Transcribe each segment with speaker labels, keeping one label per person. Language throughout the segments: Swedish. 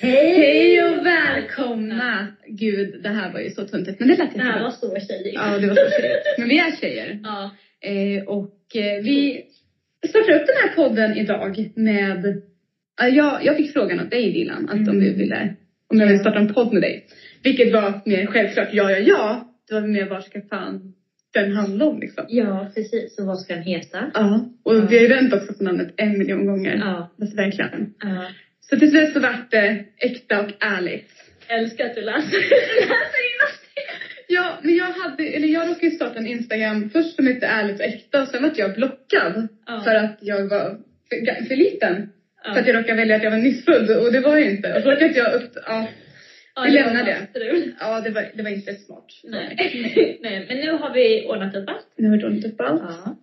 Speaker 1: Hej!
Speaker 2: Hej och välkomna! Gud, det här var ju så töntigt. Men det lät
Speaker 1: Det
Speaker 2: inte
Speaker 1: här
Speaker 2: bra.
Speaker 1: var så tjejer.
Speaker 2: Ja, det var så tjejigt. Men vi är tjejer.
Speaker 1: Ja.
Speaker 2: Eh, och eh, vi startar upp den här podden idag med... Ja, jag, jag fick frågan av dig, Dilan, att om vi
Speaker 1: Mm.
Speaker 2: ville... Om jag ville starta en podd med dig. Vilket var mer självklart ja, ja, ja. Det var mer vad ska fan den handla om liksom.
Speaker 1: ja, precis. Och vad ska den heta?
Speaker 2: Ja. Och vi har ju vänt också på namnet en miljon gånger.
Speaker 1: Ja.
Speaker 2: Alltså verkligen.
Speaker 1: ja.
Speaker 2: Så till slut så vart det äkta och ärligt.
Speaker 1: Jag älskar att du läser, läser innantill.
Speaker 2: Ja, men jag hade, eller jag råkade ju starta en Instagram först som hette Ärligt och äkta och sen vart jag blockad
Speaker 1: Ja.
Speaker 2: för att jag var för, för liten.
Speaker 1: Ja.
Speaker 2: För att jag råkade välja att jag var nyssfödd och det var jag inte. Och så råkade jag upp, ja,
Speaker 1: Ja,
Speaker 2: vi lämnar
Speaker 1: var
Speaker 2: det.
Speaker 1: strul.
Speaker 2: ja det, var, det var inte smart.
Speaker 1: Nej. Nej, men nu har vi ordnat ett band.
Speaker 2: Nu har det ordnat upp allt.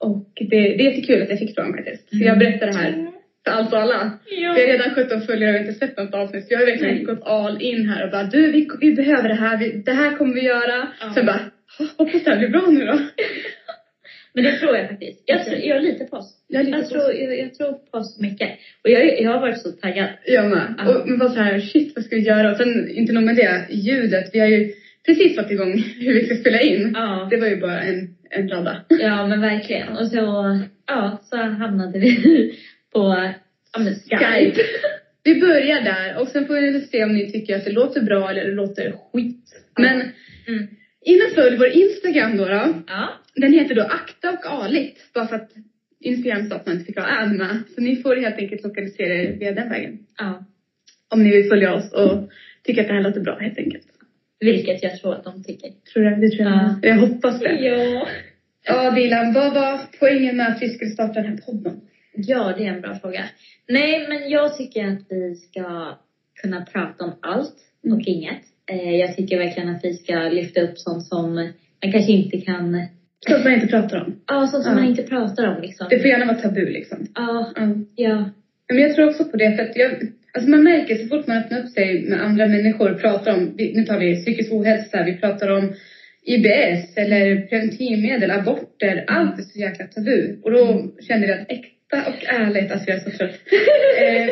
Speaker 2: Och det, det är jättekul att jag fick frågan faktiskt. Så
Speaker 1: Mm.
Speaker 2: jag berättar det här för allt och alla.
Speaker 1: Ja.
Speaker 2: Vi har redan 17 följare och inte sett något avsnitt. Så jag har verkligen
Speaker 1: Nej.
Speaker 2: gått all in här och bara du vi, vi behöver det här, vi, det här kommer vi göra.
Speaker 1: Ja.
Speaker 2: Sen bara hoppas det här blir bra nu då.
Speaker 1: Men det tror jag faktiskt. Jag, tror, jag litar på oss.
Speaker 2: Jag litar
Speaker 1: jag,
Speaker 2: på
Speaker 1: tror, jag, jag tror på oss mycket. Och jag, jag har varit så taggad.
Speaker 2: Jag med.
Speaker 1: Ja.
Speaker 2: Och, men bara så här, shit vad ska vi göra? Och sen inte nog med det, ljudet. Vi har ju precis fått igång hur vi ska spela in.
Speaker 1: Ja.
Speaker 2: Det var ju bara en, en radda.
Speaker 1: Ja, men verkligen. Och så, ja, så hamnade vi på ja, men Skype.
Speaker 2: Skype. Vi börjar där och sen får vi väl se om ni tycker att det låter bra eller det låter skit. Men
Speaker 1: Mm.
Speaker 2: in och följ vår Instagram då, då.
Speaker 1: Ja.
Speaker 2: Den heter då Akta och Aligt. Bara för att Instagram sa att man inte fick ha ad med. Så ni får helt enkelt lokalisera er via den vägen.
Speaker 1: ja.
Speaker 2: Om ni vill följa oss och tycker att det här låter bra helt enkelt.
Speaker 1: Vilket jag tror att de tycker.
Speaker 2: Tror jag, det tror jag.
Speaker 1: Ja.
Speaker 2: Jag hoppas det.
Speaker 1: Ja.
Speaker 2: Ja, Dilan, vad var poängen med att vi skulle starta den här podden?
Speaker 1: Ja, det är en bra fråga. Nej, men jag tycker att vi ska kunna prata om allt
Speaker 2: Mm.
Speaker 1: och inget. Eh, Jag tycker verkligen att vi ska lyfta upp sånt som man kanske inte kan...
Speaker 2: Sånt man inte pratar om.
Speaker 1: Ja, sånt som
Speaker 2: Ja.
Speaker 1: man inte pratar om liksom.
Speaker 2: Det får gärna vara tabu liksom.
Speaker 1: Ja,
Speaker 2: Mm.
Speaker 1: ja,
Speaker 2: Men jag tror också på det, för att jag, alltså man märker så fort man öppnar upp sig med andra människor och pratar om, vi- nu tar vi psykisk ohälsa, vi pratar om IBS eller preventivmedel, aborter, allt är så jäkla tabu. Och då
Speaker 1: Mm.
Speaker 2: känner jag att äkta och ärligt, alltså jag är så trött, eh,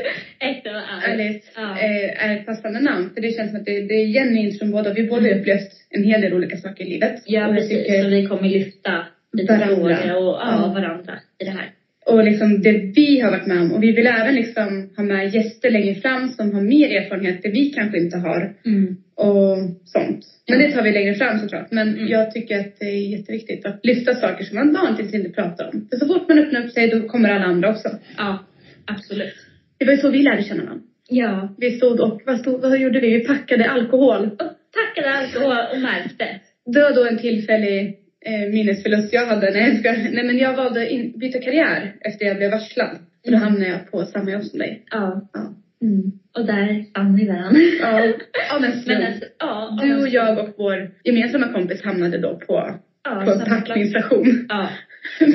Speaker 1: äkta och ärligt.
Speaker 2: ärligt
Speaker 1: Ja.
Speaker 2: eh, är ett passande namn. För det känns som att det, det är genuint från båda, vi båda har upplevt en hel del olika saker i livet.
Speaker 1: Mm. Ja,
Speaker 2: Och vi
Speaker 1: precis.
Speaker 2: tycker-
Speaker 1: Så vi kommer lyfta lite
Speaker 2: Varandra.
Speaker 1: frågor och
Speaker 2: Ja.
Speaker 1: ja, varandra i det här.
Speaker 2: och liksom det vi har varit med om. Och vi vill även liksom ha med gäster längre fram som har mer erfarenhet, det vi kanske inte har. Och sånt. Men det tar vi längre fram såklart. Men
Speaker 1: Mm.
Speaker 2: jag tycker att det är jätteviktigt att lyfta saker som man vanligtvis inte pratar om. För så fort man öppnar upp sig då kommer alla andra också.
Speaker 1: Ja, absolut.
Speaker 2: Det var ju så vi lärde känna varandra.
Speaker 1: Ja.
Speaker 2: Vi stod och, vad, stod, vad gjorde vi? Vi packade alkohol.
Speaker 1: Och tackade alkohol och märkte.
Speaker 2: Det var då en tillfällig eh, minnesförlust jag hade. Nej, jag skojar. Nej men jag valde att byta karriär efter jag blev varslad. Så då
Speaker 1: Mm.
Speaker 2: hamnade jag på samma jobb som dig.
Speaker 1: Ja.
Speaker 2: Ja.
Speaker 1: Mm. Och där fann vi varandra.
Speaker 2: Ja, av en
Speaker 1: Men
Speaker 2: slump.
Speaker 1: alltså, ja,
Speaker 2: Du och
Speaker 1: ja,
Speaker 2: jag och vår gemensamma kompis hamnade då på, på en
Speaker 1: samma plats.
Speaker 2: packningsstation.
Speaker 1: Ja.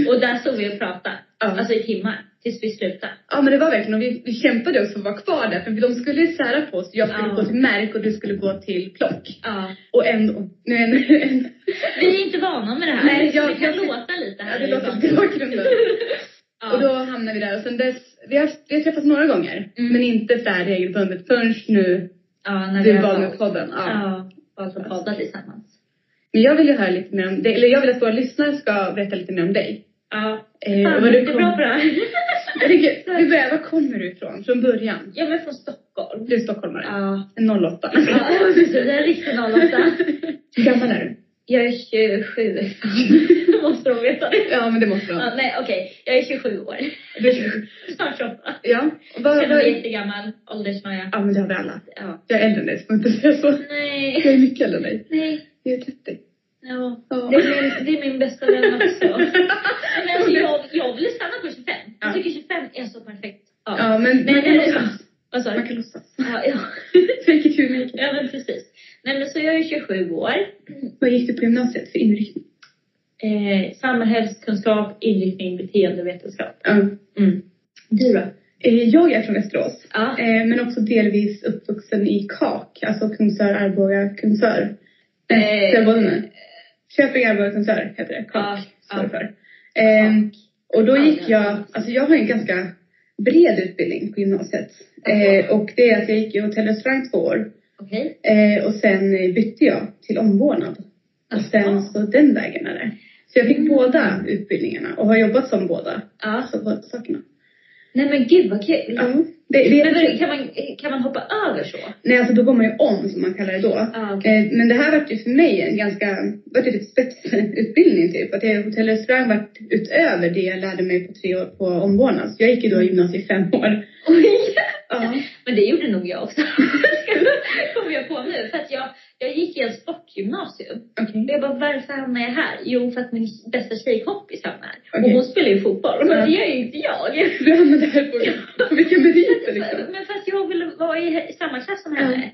Speaker 1: Och där stod vi och pratade.
Speaker 2: Ja.
Speaker 1: Alltså i timmar. Tills vi slutade.
Speaker 2: Ja men det var verkligen, och vi, vi kämpade också för att vara kvar där för de skulle sära på oss. Jag skulle
Speaker 1: Ja.
Speaker 2: gå till märk och du skulle gå till plock.
Speaker 1: Ja.
Speaker 2: Och ändå, nu är en,
Speaker 1: Vi är inte vana med det här.
Speaker 2: Nej, jag-
Speaker 1: det kan
Speaker 2: jag-
Speaker 1: låta lite
Speaker 2: ja
Speaker 1: här.
Speaker 2: det
Speaker 1: i
Speaker 2: låter
Speaker 1: bakgrunden.
Speaker 2: i bakgrunden.
Speaker 1: ja.
Speaker 2: Och då hamnade vi där och sen dess, vi har, vi har träffats några gånger.
Speaker 1: Mm.
Speaker 2: Men inte så här regelbundet förrän nu
Speaker 1: ja, när
Speaker 2: du
Speaker 1: har
Speaker 2: var
Speaker 1: valt-
Speaker 2: med podden. Ja.
Speaker 1: Ja. Valt att podda tillsammans.
Speaker 2: Men jag vill ju höra lite mer om dig, eller jag vill att våra lyssnare ska berätta lite mer om dig.
Speaker 1: Ja.
Speaker 2: Eh,
Speaker 1: Fan,
Speaker 2: var
Speaker 1: du
Speaker 2: du
Speaker 1: är bra
Speaker 2: kom,
Speaker 1: på det här.
Speaker 2: Herregud, vi börjar, var kommer du ifrån? Från början?
Speaker 1: Jag är från Stockholm.
Speaker 2: Du är stockholmare?
Speaker 1: Ja.
Speaker 2: En 08.
Speaker 1: Ja, precis. Det är en riktig 08.
Speaker 2: Hur gammal är du?
Speaker 1: Jag är 27. Måste de veta det?
Speaker 2: Ja, men det måste
Speaker 1: Ja,
Speaker 2: jag.
Speaker 1: nej, okej. Jag är 27 år.
Speaker 2: Du är 27.
Speaker 1: Snart 28.
Speaker 2: Ja. Och vad,
Speaker 1: Känner mig
Speaker 2: vad,
Speaker 1: jättegammal. Åldersnoja.
Speaker 2: ja, men det har vi alla.
Speaker 1: Ja.
Speaker 2: Jag är äldre än dig, så får inte säga så.
Speaker 1: Nej,
Speaker 2: Jag är mycket äldre än dig.
Speaker 1: nej.
Speaker 2: Jag är 30.
Speaker 1: Ja.
Speaker 2: Ja.
Speaker 1: Det, är min, det är min bästa vän också. Men alltså, jag, jag vill stanna på 25. Jag
Speaker 2: Ja.
Speaker 1: tycker 25 är så perfekt. Ja.
Speaker 2: Ja, men
Speaker 1: Men,
Speaker 2: man kan
Speaker 1: eh,
Speaker 2: låtsas.
Speaker 1: vad sa
Speaker 2: Man
Speaker 1: du?
Speaker 2: kan låtsas.
Speaker 1: Ja, ja.
Speaker 2: Fake it, you make it.
Speaker 1: ja, men precis. Nej, men så jag är 27 år.
Speaker 2: Vad gick du på gymnasiet för inriktning?
Speaker 1: Eh, samhällskunskap, inriktning, beteendevetenskap.
Speaker 2: Ja.
Speaker 1: Mm. Du då?
Speaker 2: Eh, Jag är från Västerås.
Speaker 1: Ja.
Speaker 2: Eh, Men också delvis uppvuxen i KAK, alltså Kungsör, Arboga, Kungsör.
Speaker 1: Eh.
Speaker 2: Nej, så jag bodde med. Köping, Arboga, Kungsör heter det. KAK
Speaker 1: Ja,
Speaker 2: står det
Speaker 1: ja.
Speaker 2: för. Ehm, Och då gick jag, alltså jag har en ganska bred utbildning på gymnasiet. Eh, och det är att jag gick i hotell och restaurang två år.
Speaker 1: Okej.
Speaker 2: Eh, och sen eh, bytte jag till omvårdnad. Och sen så den vägen är det. Så jag fick
Speaker 1: Mm.
Speaker 2: båda utbildningarna och har jobbat som båda.
Speaker 1: Ja.
Speaker 2: Alltså båda sakerna.
Speaker 1: Nej men gud vad kul.
Speaker 2: Ja. Det, det,
Speaker 1: Men vadå, kan man, kan man hoppa över så?
Speaker 2: nej alltså då går man ju om som man kallar det då.
Speaker 1: Ja, okej.
Speaker 2: Eh, Men det här vart ju för mig en ganska, vart ju lite spetsutbildning typ. Att jag i hotell och restaurang vart utöver det jag lärde mig på tre år på omvårdnad. Så jag gick ju då gymnasiet i fem år.
Speaker 1: Oj.
Speaker 2: Ja.
Speaker 1: Men det gjorde nog jag också. Kommer jag på nu. För att jag, jag gick i en sportgymnasium.
Speaker 2: Okej.
Speaker 1: Och jag bara, varför hamnade jag här? Jo, för att min bästa tjejkompis hamnade här. Och
Speaker 2: Okej.
Speaker 1: hon spelar ju fotboll. Men
Speaker 2: Ja.
Speaker 1: det gör ju inte jag.
Speaker 2: Du hamnade här på, på vilka meriter liksom.
Speaker 1: Men fast jag ville vara i samma klass som
Speaker 2: Ja.
Speaker 1: henne.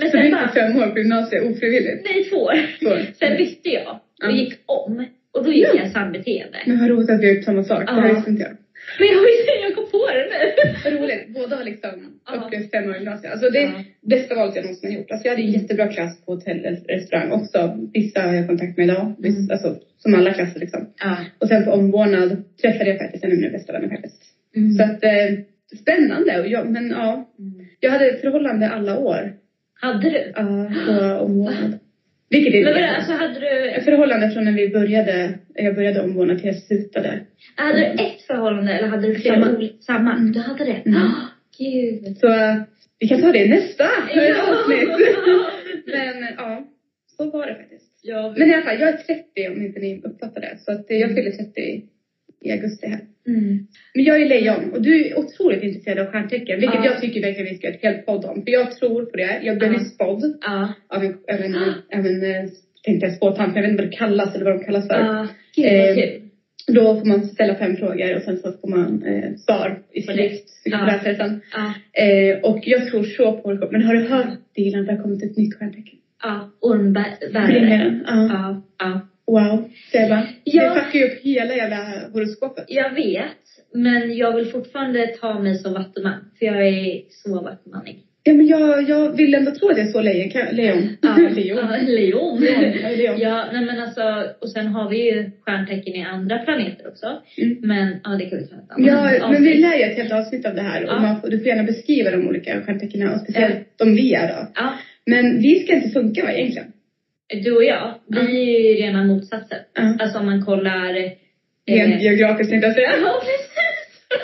Speaker 1: Men
Speaker 2: Så du
Speaker 1: sen
Speaker 2: gick i
Speaker 1: bara,
Speaker 2: fem år på gymnasiet ofrivilligt.
Speaker 1: nej två år.
Speaker 2: Så.
Speaker 1: Sen bytte jag och
Speaker 2: Mm. Ja.
Speaker 1: gick om. Och då gick
Speaker 2: Ja.
Speaker 1: jag sambeteende.
Speaker 2: Men vad roligt att vi har gjort samma sak. Det här
Speaker 1: Ja.
Speaker 2: visste inte jag.
Speaker 1: Men jag, jag kom på det nu.
Speaker 2: Vad roligt. Båda har liksom
Speaker 1: Ja.
Speaker 2: upplevt fem år i gymnasiet. Alltså det är
Speaker 1: Ja.
Speaker 2: bästa valet jag någonsin har gjort. Alltså jag hade en jättebra klass på hotell eller restaurang också. Vissa har jag kontakt med idag. Vissa,
Speaker 1: Mm.
Speaker 2: Alltså som alla klasser liksom.
Speaker 1: Ja.
Speaker 2: Och sen på omvårdnad träffade jag faktiskt en av mina bästa vänner faktiskt. Så att eh, spännande. Och jag, men ja,
Speaker 1: Mm.
Speaker 2: jag hade ett förhållande alla år
Speaker 1: Hade du?
Speaker 2: ja, på omvårdnad. Vilket är
Speaker 1: Men vadå,
Speaker 2: det?
Speaker 1: alltså hade du,
Speaker 2: Ett förhållande från när vi började, jag började omvårdnad till jag slutade.
Speaker 1: hade du ett förhållande eller hade du flera
Speaker 2: Samma.
Speaker 1: olika? Samma.
Speaker 2: Mm.
Speaker 1: Du hade det?
Speaker 2: Mm.
Speaker 1: Ah, Gud.
Speaker 2: Så eh, vi kan ta det i nästa avsnitt. Men eh, ja, så var det faktiskt.
Speaker 1: Jag vet.
Speaker 2: Men i alla fall, jag är 30 om inte ni uppfattar det. Så att eh, jag fyller 30 i- i augusti här.
Speaker 1: Mm.
Speaker 2: Men jag är lejon och du är otroligt intresserad av stjärntecken. Vilket
Speaker 1: Ja.
Speaker 2: jag tycker verkligen vi ska göra ett helt podd om. För jag tror på det. Jag blev
Speaker 1: Ja.
Speaker 2: ju spådd
Speaker 1: Ja.
Speaker 2: av en, av en, av en eh, tänkte jag spåtant, men jag vet inte vad det kallas eller vad de kallas för.
Speaker 1: Ja. ah, Gud vad
Speaker 2: Eh,
Speaker 1: kul.
Speaker 2: Då får man ställa fem frågor och sen så får man eh, svar i
Speaker 1: På det.
Speaker 2: skrift. Du kan
Speaker 1: Ja.
Speaker 2: läsa det sen.
Speaker 1: Ja.
Speaker 2: Eh, och jag tror så på det. Men har du hört Dilan, det har kommit ett nytt stjärntecken?
Speaker 1: Ja.
Speaker 2: Brinner
Speaker 1: Ormbärare.
Speaker 2: den? Ja.
Speaker 1: Ja. Ja.
Speaker 2: Wow. Så jag bara,
Speaker 1: Ja.
Speaker 2: Det fuckar ju upp hela jävla horoskopet.
Speaker 1: Jag vet. Men jag vill fortfarande ta mig som vattuman. För jag är så vattumanig.
Speaker 2: Ja men jag, jag vill ändå tro att jag är så lejon. Kan, lejon.
Speaker 1: Ja.
Speaker 2: lejon.
Speaker 1: Ja, lejon.
Speaker 2: Lejon, jag är lejon.
Speaker 1: Ja, nej men alltså, och sen har vi ju stjärntecken i andra planeter också.
Speaker 2: Mm.
Speaker 1: Men ja, det kan vi ta ett annat
Speaker 2: Ja, men
Speaker 1: avsnitt.
Speaker 2: vi lär ju ett helt avsnitt av det här.
Speaker 1: Ja.
Speaker 2: Och man får, du får gärna beskriva de olika stjärntecknen och speciellt de vi är då.
Speaker 1: Ja,
Speaker 2: Men vi ska inte funka va egentligen?
Speaker 1: du och jag, vi
Speaker 2: Ja.
Speaker 1: är ju rena motsatsen.
Speaker 2: Ja.
Speaker 1: Alltså om man kollar... eh,
Speaker 2: Rent geografiskt tänkte jag säga.
Speaker 1: Ja, precis.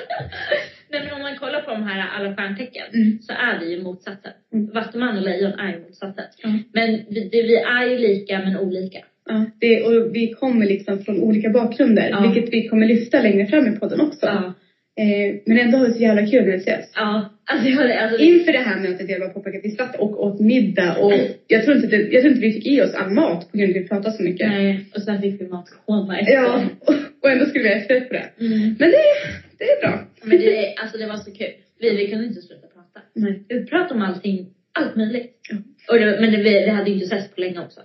Speaker 1: Nej, men om man kollar på de här alla stjärntecken
Speaker 2: Mm.
Speaker 1: så är vi ju motsatsen.
Speaker 2: Mm.
Speaker 1: Vattuman och lejon är ju motsatsen.
Speaker 2: Ja.
Speaker 1: Men vi, det- vi är ju lika men olika.
Speaker 2: Ja, det, och vi kommer liksom från olika bakgrunder,
Speaker 1: Ja.
Speaker 2: vilket vi kommer lyfta längre fram i podden också.
Speaker 1: Ja.
Speaker 2: Eh, men ändå har vi så jävla kul när vi ses.
Speaker 1: Ja. Alltså, jag, alltså,
Speaker 2: Inför det här mötet jag bara påpekade att vi satt och åt middag och jag tror inte, det, jag tror inte vi fick i oss all mat på grund av att vi pratade så mycket.
Speaker 1: nej. Och sen fick vi matkoma efter.
Speaker 2: Ja, och, och ändå skulle vi ha efterrätt på det.
Speaker 1: Mm.
Speaker 2: Men det, det är bra.
Speaker 1: Men det, alltså, det var så kul. Vi, vi kunde inte sluta prata.
Speaker 2: Nej.
Speaker 1: Vi pratade om allting, allt möjligt.
Speaker 2: Ja.
Speaker 1: Och det, men det, vi, vi hade ju inte setts på länge också.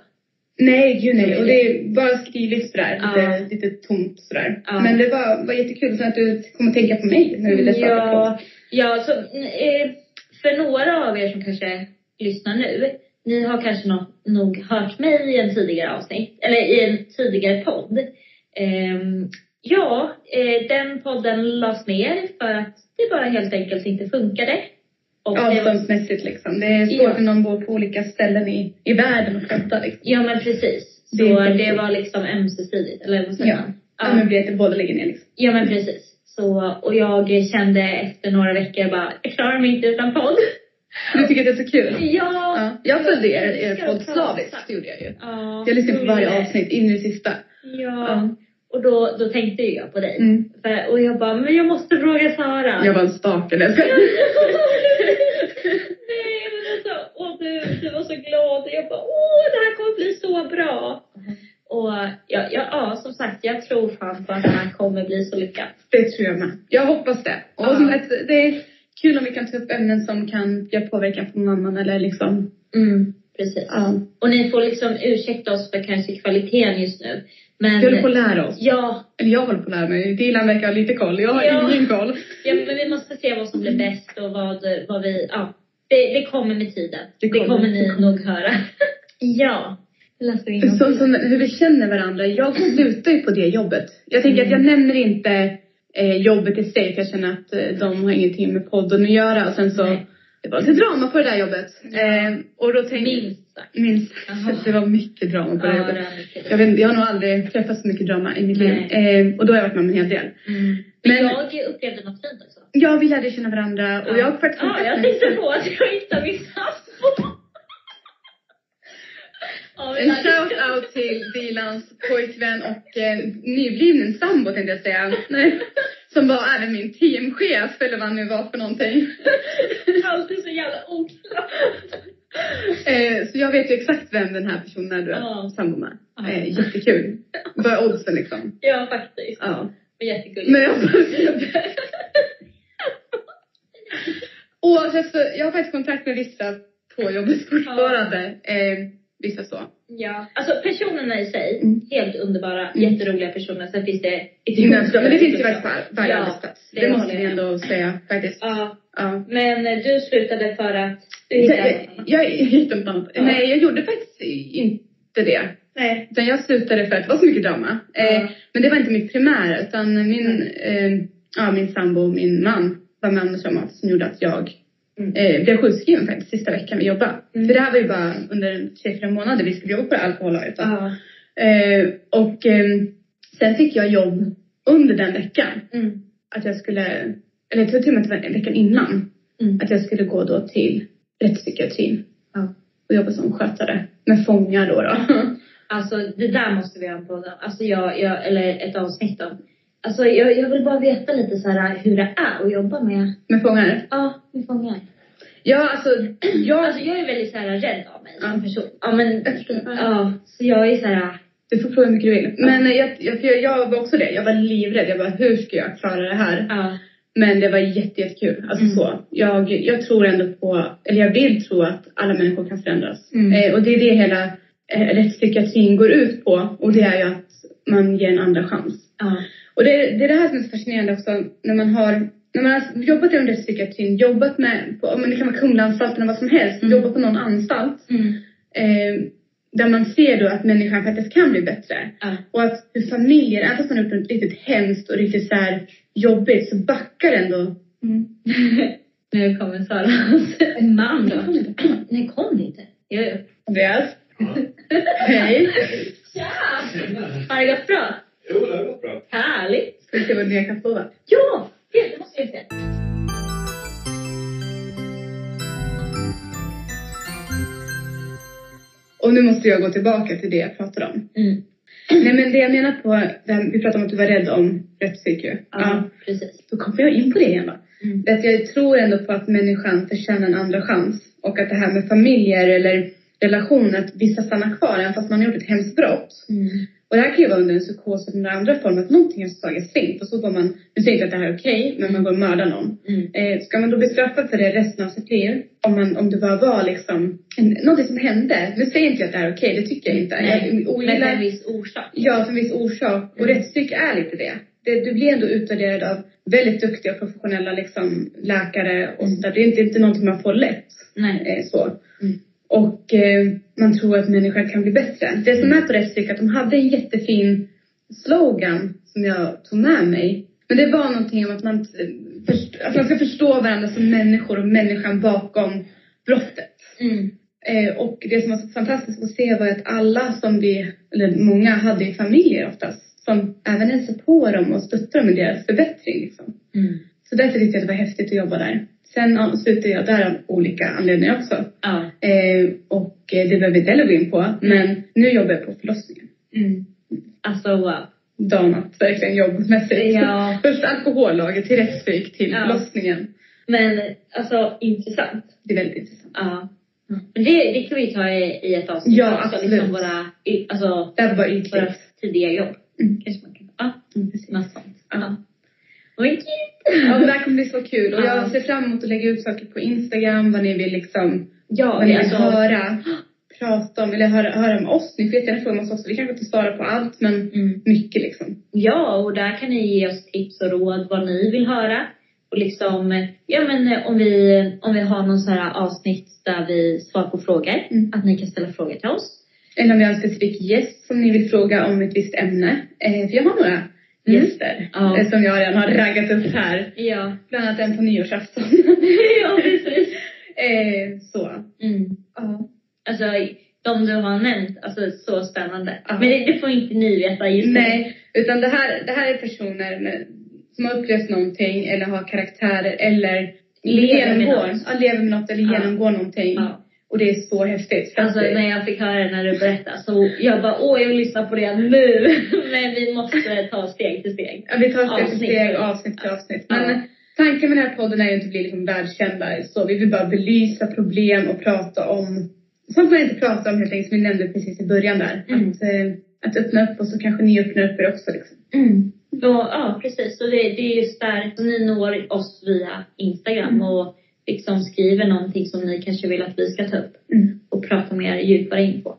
Speaker 2: Nej, gud nej. Och det är bara skrivligt sådär.
Speaker 1: Ja.
Speaker 2: Lite, lite tomt sådär.
Speaker 1: Ja.
Speaker 2: Men det var, var jättekul. Sen att du kommer tänka på mig när vi vill starta på.
Speaker 1: Ja, ja så, eh, för några av er som kanske lyssnar nu, ni har kanske nog, nog hört mig i en tidigare avsnitt, eller i en tidigare podd. Ehm, ja, eh, den podden lades ner för att det bara helt enkelt inte funkade. Och det var-
Speaker 2: Avståndsmässigt liksom. Det är svårt
Speaker 1: Ja.
Speaker 2: när någon bor på olika ställen i, i världen och pratar liksom.
Speaker 1: ja, men precis. Så
Speaker 2: Det är
Speaker 1: det,
Speaker 2: inte riktigt.
Speaker 1: var liksom ömsesidigt, eller vad säger
Speaker 2: Ja.
Speaker 1: man?
Speaker 2: Ja, men blir inte båda ligger ner liksom.
Speaker 1: Ja men precis. Så, och jag kände efter några veckor bara, jag klarar mig inte utan podd.
Speaker 2: Du tycker att det är så kul?
Speaker 1: Ja.
Speaker 2: Ja. Jag följde er, er
Speaker 1: Ska
Speaker 2: podd
Speaker 1: prata.
Speaker 2: slaviskt, det gjorde jag ju.
Speaker 1: Ja,
Speaker 2: Jag lyssnade på
Speaker 1: så är
Speaker 2: varje
Speaker 1: det.
Speaker 2: avsnitt, in i det sista.
Speaker 1: Ja.
Speaker 2: Ja.
Speaker 1: Och då, då tänkte ju jag på dig.
Speaker 2: Mm.
Speaker 1: För, och jag bara, men jag måste fråga Sara.
Speaker 2: Jag var en stalker, jag skojar.
Speaker 1: Nej, men alltså, och du, du var så glad och jag bara, åh det här kommer bli så bra. Och ja, ja, ja, som sagt, jag tror fan på att det här kommer bli så lyckat.
Speaker 2: Det tror jag med. Jag hoppas det. Och
Speaker 1: Ja.
Speaker 2: som sagt, det är kul om vi kan ta upp ämnen som kan göra påverkan på någon annan eller liksom.
Speaker 1: Mm, precis.
Speaker 2: Ja.
Speaker 1: Och ni får liksom ursäkta oss för kanske kvaliteten just nu. Men,
Speaker 2: Vi håller på att lära oss.
Speaker 1: ja,
Speaker 2: Eller jag håller på att lära mig. Dilan verkar ha lite koll. Jag har
Speaker 1: Ja.
Speaker 2: ingen koll.
Speaker 1: Ja, men vi måste se vad som blir bäst och vad, vad vi... Ja, det, det kommer med tiden. Det
Speaker 2: Det
Speaker 1: kommer,
Speaker 2: kommer,
Speaker 1: ni
Speaker 2: det kommer.
Speaker 1: nog höra. ja. Nu läser vi in Mm.
Speaker 2: Så, som hur vi känner varandra. Jag slutar ju på det jobbet. Jag tänker att jag nämner inte eh, jobbet i sig. För jag känner att eh, de har ingenting med podden att göra. Och sen så,
Speaker 1: Nej.
Speaker 2: det var lite drama på det där jobbet. Eh, och då tänkte
Speaker 1: Minst sagt.
Speaker 2: Minst.
Speaker 1: Jaha.
Speaker 2: Det var mycket drama på det
Speaker 1: Ja,
Speaker 2: här
Speaker 1: det
Speaker 2: jobbet.
Speaker 1: är mycket
Speaker 2: Jag, vet, jag har nog aldrig träffat så mycket drama i mitt liv. Eh, och då har jag varit med om en hel del.
Speaker 1: Mm. Men
Speaker 2: Men-
Speaker 1: jag upplevde något fint också.
Speaker 2: Ja, vi lärde känna varandra och jag har faktiskt
Speaker 1: Ja,
Speaker 2: kontakt
Speaker 1: jag
Speaker 2: med-
Speaker 1: tänkte på att jag inte har min sambo. Ja, men
Speaker 2: En
Speaker 1: jag-
Speaker 2: shout-out till Dilans pojkvän och eh, nyblivne sambo tänkte jag säga. Nej. Som var även min teamchef eller vad han nu var för någonting.
Speaker 1: Alltid så jävla oklart.
Speaker 2: Eh, så jag vet ju exakt vem den här personen är du är
Speaker 1: Ja.
Speaker 2: sambo med.
Speaker 1: Ja.
Speaker 2: Eh, jättekul. Vad är oddsen liksom?
Speaker 1: Ja, faktiskt.
Speaker 2: Ja.
Speaker 1: Men jättegulligt.
Speaker 2: Men jag Oavsett så, jag har faktiskt kontakt med vissa på jobbet fortfarande. Eh, vissa så.
Speaker 1: Ja. Alltså personerna i sig,
Speaker 2: Mm.
Speaker 1: helt underbara,
Speaker 2: Mm.
Speaker 1: jätteroliga personer. Sen finns det
Speaker 2: Men det finns ju
Speaker 1: Ja.
Speaker 2: faktiskt på all- varje
Speaker 1: Ja,
Speaker 2: arbetsplats.
Speaker 1: det
Speaker 2: Det måste
Speaker 1: håller
Speaker 2: vi
Speaker 1: jag med
Speaker 2: ändå säga faktiskt.
Speaker 1: Ja,
Speaker 2: Ja.
Speaker 1: men eh, du slutade för att du
Speaker 2: Jag,
Speaker 1: hittade
Speaker 2: jag,
Speaker 1: någon.
Speaker 2: jag hittade något annat.
Speaker 1: Ja.
Speaker 2: Nej, jag gjorde faktiskt inte det.
Speaker 1: Nej.
Speaker 2: Utan jag slutade för att det var så mycket drama. Eh,
Speaker 1: Ja.
Speaker 2: men det var inte mitt primära utan min, eh, ja, min sambo och min man var med om något som gjorde att jag
Speaker 1: Mm.
Speaker 2: eh, blev sjukskriven faktiskt sista veckan vi jobbade.
Speaker 1: Mm.
Speaker 2: För det här var ju bara under tre, fyra månader vi skulle jobba på det alkoholåret. va?
Speaker 1: Ja.
Speaker 2: Eh, och eh, sen fick jag jobb under den veckan.
Speaker 1: Mm.
Speaker 2: Att jag skulle, eller jag tror till och med att det var veckan innan
Speaker 1: Mm.
Speaker 2: att jag skulle gå då till rättspsykiatrin
Speaker 1: Ja.
Speaker 2: och jobba som skötare med fångar då. då.
Speaker 1: Alltså det där måste vi ha en podd om. Alltså jag, jag, eller ett avsnitt om. Alltså jag, jag vill bara veta lite så här hur det är att jobba med,
Speaker 2: med fångar.
Speaker 1: ja, med fångar.
Speaker 2: Ja, alltså jag...
Speaker 1: Alltså jag är väldigt så här rädd av mig
Speaker 2: Ja.
Speaker 1: som person. Ja men,
Speaker 2: jag förstår.
Speaker 1: ja. Så jag är så här,
Speaker 2: Du får prova hur mycket du vill. Men eh, jag, jag, för jag, jag var också det. Jag var livrädd. Jag bara, hur ska jag klara det här?
Speaker 1: ja.
Speaker 2: Men det var jätte, jättekul. Alltså
Speaker 1: Mm.
Speaker 2: så. Jag, jag tror ändå på, eller jag vill tro att alla människor kan förändras.
Speaker 1: Mm.
Speaker 2: Eh, och det är det hela eh, rättspsykiatrin går ut på. Och det är ju att man ger en andra chans.
Speaker 1: ja.
Speaker 2: Och det, det är det här som är så fascinerande också när man har när man har jobbat inom rättspsykiatrin, jobbat med, på, ja, men det kan vara Kumlaanstalten och vad som helst,
Speaker 1: Mm.
Speaker 2: jobbat på någon anstalt.
Speaker 1: Mm.
Speaker 2: Eh, där man ser då att människan faktiskt kan bli bättre.
Speaker 1: Ja.
Speaker 2: Och att hur familjer, även fast man har gjort något riktigt hemskt och riktigt så här jobbigt, så backar ändå.
Speaker 1: nu kommer Saras man då. Nej kom inte. Jag,
Speaker 2: Andreas?
Speaker 3: Ja.
Speaker 2: Hej!
Speaker 1: Tja! Har det gått bra?
Speaker 3: Jo, det har gått bra.
Speaker 1: Härligt!
Speaker 2: Ska vi se vad nya kan få va?
Speaker 1: Ja! Det måste jag säga.
Speaker 2: Och nu måste jag gå tillbaka till det jag pratade om.
Speaker 1: Mm.
Speaker 2: Nej men det jag menar på, det här, vi pratade om att du var rädd om rättspsyke.
Speaker 1: Ja, precis.
Speaker 2: Då kommer jag in på det igen va?
Speaker 1: Mm.
Speaker 2: Att jag tror ändå på att människan förtjänar en andra chans. Och att det här med familjer eller relationer, att vissa stannar kvar även fast man har gjort ett hemskt brott.
Speaker 1: Mm.
Speaker 2: Och det här kan ju vara under en psykos eller under andra former, att någonting har slagit slint och så går man, nu säger jag inte att det här är okej, men man går och mördar någon.
Speaker 1: Mm.
Speaker 2: Eh, ska man då bli straffad för det resten av sitt liv? Om, man, om det bara var liksom, en, någonting som hände. Nu säger inte jag att det här är okej, det tycker jag inte.
Speaker 1: Nej,
Speaker 2: Jag
Speaker 1: Men för en
Speaker 2: ogillar,
Speaker 1: viss orsak.
Speaker 2: ja, för en viss orsak. Och
Speaker 1: Mm.
Speaker 2: rättspsyk är lite det. det. Du blir ändå utvärderad av väldigt duktiga och professionella liksom, läkare och
Speaker 1: Mm.
Speaker 2: sånt där. Det är inte, inte någonting man får lätt.
Speaker 1: Nej.
Speaker 2: Eh, så.
Speaker 1: Mm.
Speaker 2: Och eh, man tror att människan kan bli bättre. Det som är på rättspsyk är att de hade en jättefin slogan som jag tog med mig. Men det var någonting om att man, eh, först, att man ska förstå varandra som människor och människan bakom brottet.
Speaker 1: Mm.
Speaker 2: Eh, och det som var så fantastiskt att se var att alla som vi, eller många hade ju familjer oftast, som även hälsade på dem och stöttade dem i deras förbättring. Liksom.
Speaker 1: Mm.
Speaker 2: Så därför tyckte jag att det var häftigt att jobba där. Sen ja, slutade jag där av olika anledningar också.
Speaker 1: Ja.
Speaker 2: Eh, och eh, det behöver vi inte heller gå in på. Men nu jobbar jag på förlossningen.
Speaker 1: Mm. Alltså wow.
Speaker 2: Dag och natt, verkligen jobbmässigt.
Speaker 1: Ja.
Speaker 2: Först alkohollaget till rättspsyk till
Speaker 1: Ja.
Speaker 2: förlossningen.
Speaker 1: Men alltså intressant.
Speaker 2: Det är väldigt intressant.
Speaker 1: Ja. Men det, det kan vi ta i, i ett
Speaker 2: Mm.
Speaker 1: avsnitt
Speaker 2: Ja,
Speaker 1: också.
Speaker 2: absolut.
Speaker 1: Liksom våra, i- alltså,
Speaker 2: Det här var
Speaker 1: våra
Speaker 2: ytligt.
Speaker 1: tidiga jobb.
Speaker 2: Mm.
Speaker 1: Kanske man kan, ja,
Speaker 2: Mm, precis.
Speaker 1: något sånt.
Speaker 2: Ja.
Speaker 1: Vad kul!
Speaker 2: Ja, men det här kommer bli så kul. Och
Speaker 1: Ja.
Speaker 2: jag ser fram emot att lägga ut saker på Instagram. Vad ni vill liksom,
Speaker 1: Ja,
Speaker 2: vad ni
Speaker 1: det,
Speaker 2: vill
Speaker 1: alltså,
Speaker 2: höra. Prata om, eller höra, höra om oss. Ni får jättegärna fråga om oss också. Vi kanske inte svarar på allt, men
Speaker 1: mm.
Speaker 2: mycket liksom.
Speaker 1: ja, och där kan ni ge oss tips och råd vad ni vill höra. Och liksom, eh, ja men eh, om vi, om vi har någon så här avsnitt där vi svarar på frågor,
Speaker 2: Mm.
Speaker 1: att ni kan ställa frågor till oss.
Speaker 2: Eller om vi har en specifik gäst som ni vill fråga om ett visst ämne. Eh, för jag har några
Speaker 1: Mm.
Speaker 2: gäster.
Speaker 1: Ja.
Speaker 2: eh, Som jag redan har raggat upp här.
Speaker 1: Ja.
Speaker 2: Bland annat en på nyårsafton.
Speaker 1: ja, precis.
Speaker 2: eh, så.
Speaker 1: Mm.
Speaker 2: Ja.
Speaker 1: Alltså, de du har nämnt, alltså så spännande.
Speaker 2: Ja.
Speaker 1: Men det, det får inte ni veta just nu.
Speaker 2: Nej, utan det här, det här är personer med, som har upplevt någonting eller har karaktärer eller
Speaker 1: Lever med
Speaker 2: genomgår,
Speaker 1: något.
Speaker 2: ja, lever med något eller
Speaker 1: Ja.
Speaker 2: genomgår någonting.
Speaker 1: Ja.
Speaker 2: Och det är så häftigt. Så
Speaker 1: Alltså
Speaker 2: att, eh,
Speaker 1: när jag fick höra det när du berättade så jag bara åh jag vill lyssna på det nu. Men vi måste ta steg till steg.
Speaker 2: Ja, vi tar steg för
Speaker 1: Avsnitt.
Speaker 2: steg, avsnitt för avsnitt. Men eh,
Speaker 1: Ja.
Speaker 2: tanken med den här podden är ju inte att bli liksom världskända. Så vi vill bara belysa problem och prata om sånt man inte pratar om helt enkelt. Som vi nämnde precis i början där.
Speaker 1: Mm.
Speaker 2: Att, eh, att öppna upp och så kanske ni öppnar upp er också. Liksom.
Speaker 1: Då, ja precis, så det, det är just där ni når oss via Instagram
Speaker 2: Mm.
Speaker 1: och liksom skriver någonting som ni kanske vill att vi ska ta upp och prata mer djupare in på.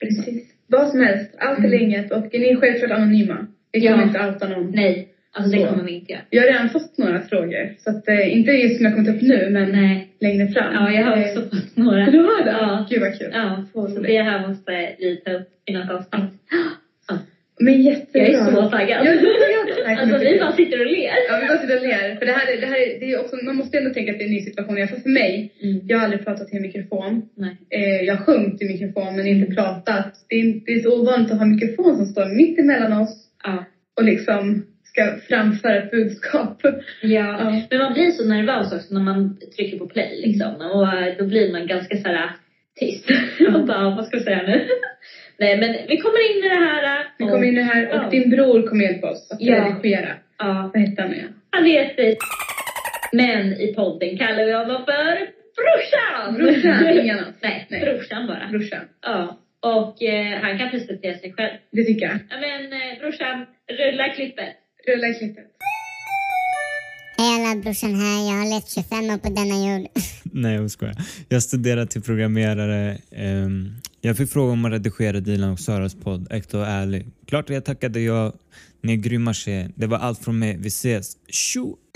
Speaker 2: Precis. Vad som helst, allt eller inget. Och ni är självklart anonyma. Det kan
Speaker 1: Mm. Ja.
Speaker 2: vi inte outa någon.
Speaker 1: Nej, alltså det
Speaker 2: Så.
Speaker 1: kommer vi inte göra.
Speaker 2: Jag har redan fått några frågor. Så att, eh, inte just som jag kommer ta upp nu, men
Speaker 1: Nej.
Speaker 2: längre fram.
Speaker 1: Ja, jag har
Speaker 2: Eh,
Speaker 1: också fått några.
Speaker 2: Du har det?
Speaker 1: Ja.
Speaker 2: Gud vad kul.
Speaker 1: Ja, så
Speaker 2: roligt.
Speaker 1: det här måste vi ta upp i något avsnitt.
Speaker 2: Men jättebra.
Speaker 1: Jag är så taggad.
Speaker 2: Ja, ja, ja. Det här kommer
Speaker 1: Alltså
Speaker 2: bli
Speaker 1: vi bara sitter och ler.
Speaker 2: Ja, vi bara sitter och ler. För det här, är- det här är, det är också, man måste ändå tänka att det är en ny situation. Jag- För, för mig,
Speaker 1: Mm.
Speaker 2: jag har aldrig pratat till mikrofon.
Speaker 1: Nej.
Speaker 2: Eh, jag har sjungit i mikrofon men inte pratat. Det är, inte- det är så ovanligt att ha en mikrofon som står mitt emellan oss
Speaker 1: Ja.
Speaker 2: och liksom ska framföra ett budskap.
Speaker 1: Ja.
Speaker 2: Ja. Mm.
Speaker 1: Men man blir så nervös också när man trycker på play liksom. Och eh, då blir man ganska så här tyst. och bara, vad ska jag säga nu? Nej men vi kommer in i det här. eh,
Speaker 2: Vi
Speaker 1: och-
Speaker 2: kom in i det här och
Speaker 1: Ja.
Speaker 2: din bror kom hjälpa oss att
Speaker 1: Ja.
Speaker 2: redigera.
Speaker 1: Ja,
Speaker 2: Vad hette han nu?
Speaker 1: han heter Men i podden kallar vi honom för brorsan.
Speaker 2: Brorsan, ingen annan.
Speaker 1: Nej,
Speaker 2: Nej.
Speaker 1: brorsan bara.
Speaker 2: Brorsan.
Speaker 1: Ja. Och eh, han kan presentera sig själv.
Speaker 2: Det tycker jag.
Speaker 1: Ja men eh, brorsan, rulla klippet.
Speaker 2: Rulla klippet.
Speaker 3: Hej alla, brorsan här. Jag har levt 25 år på denna jord.
Speaker 4: Nej, jag skojar. Jag studerar till programmerare. Ehm, Jag fick fråga om att redigera Dilan och Saras podd, Äkta och ärlig. Klart jag tackade ja. Ni är grymma tjejer. Det var allt från mig. Vi ses. Tjo!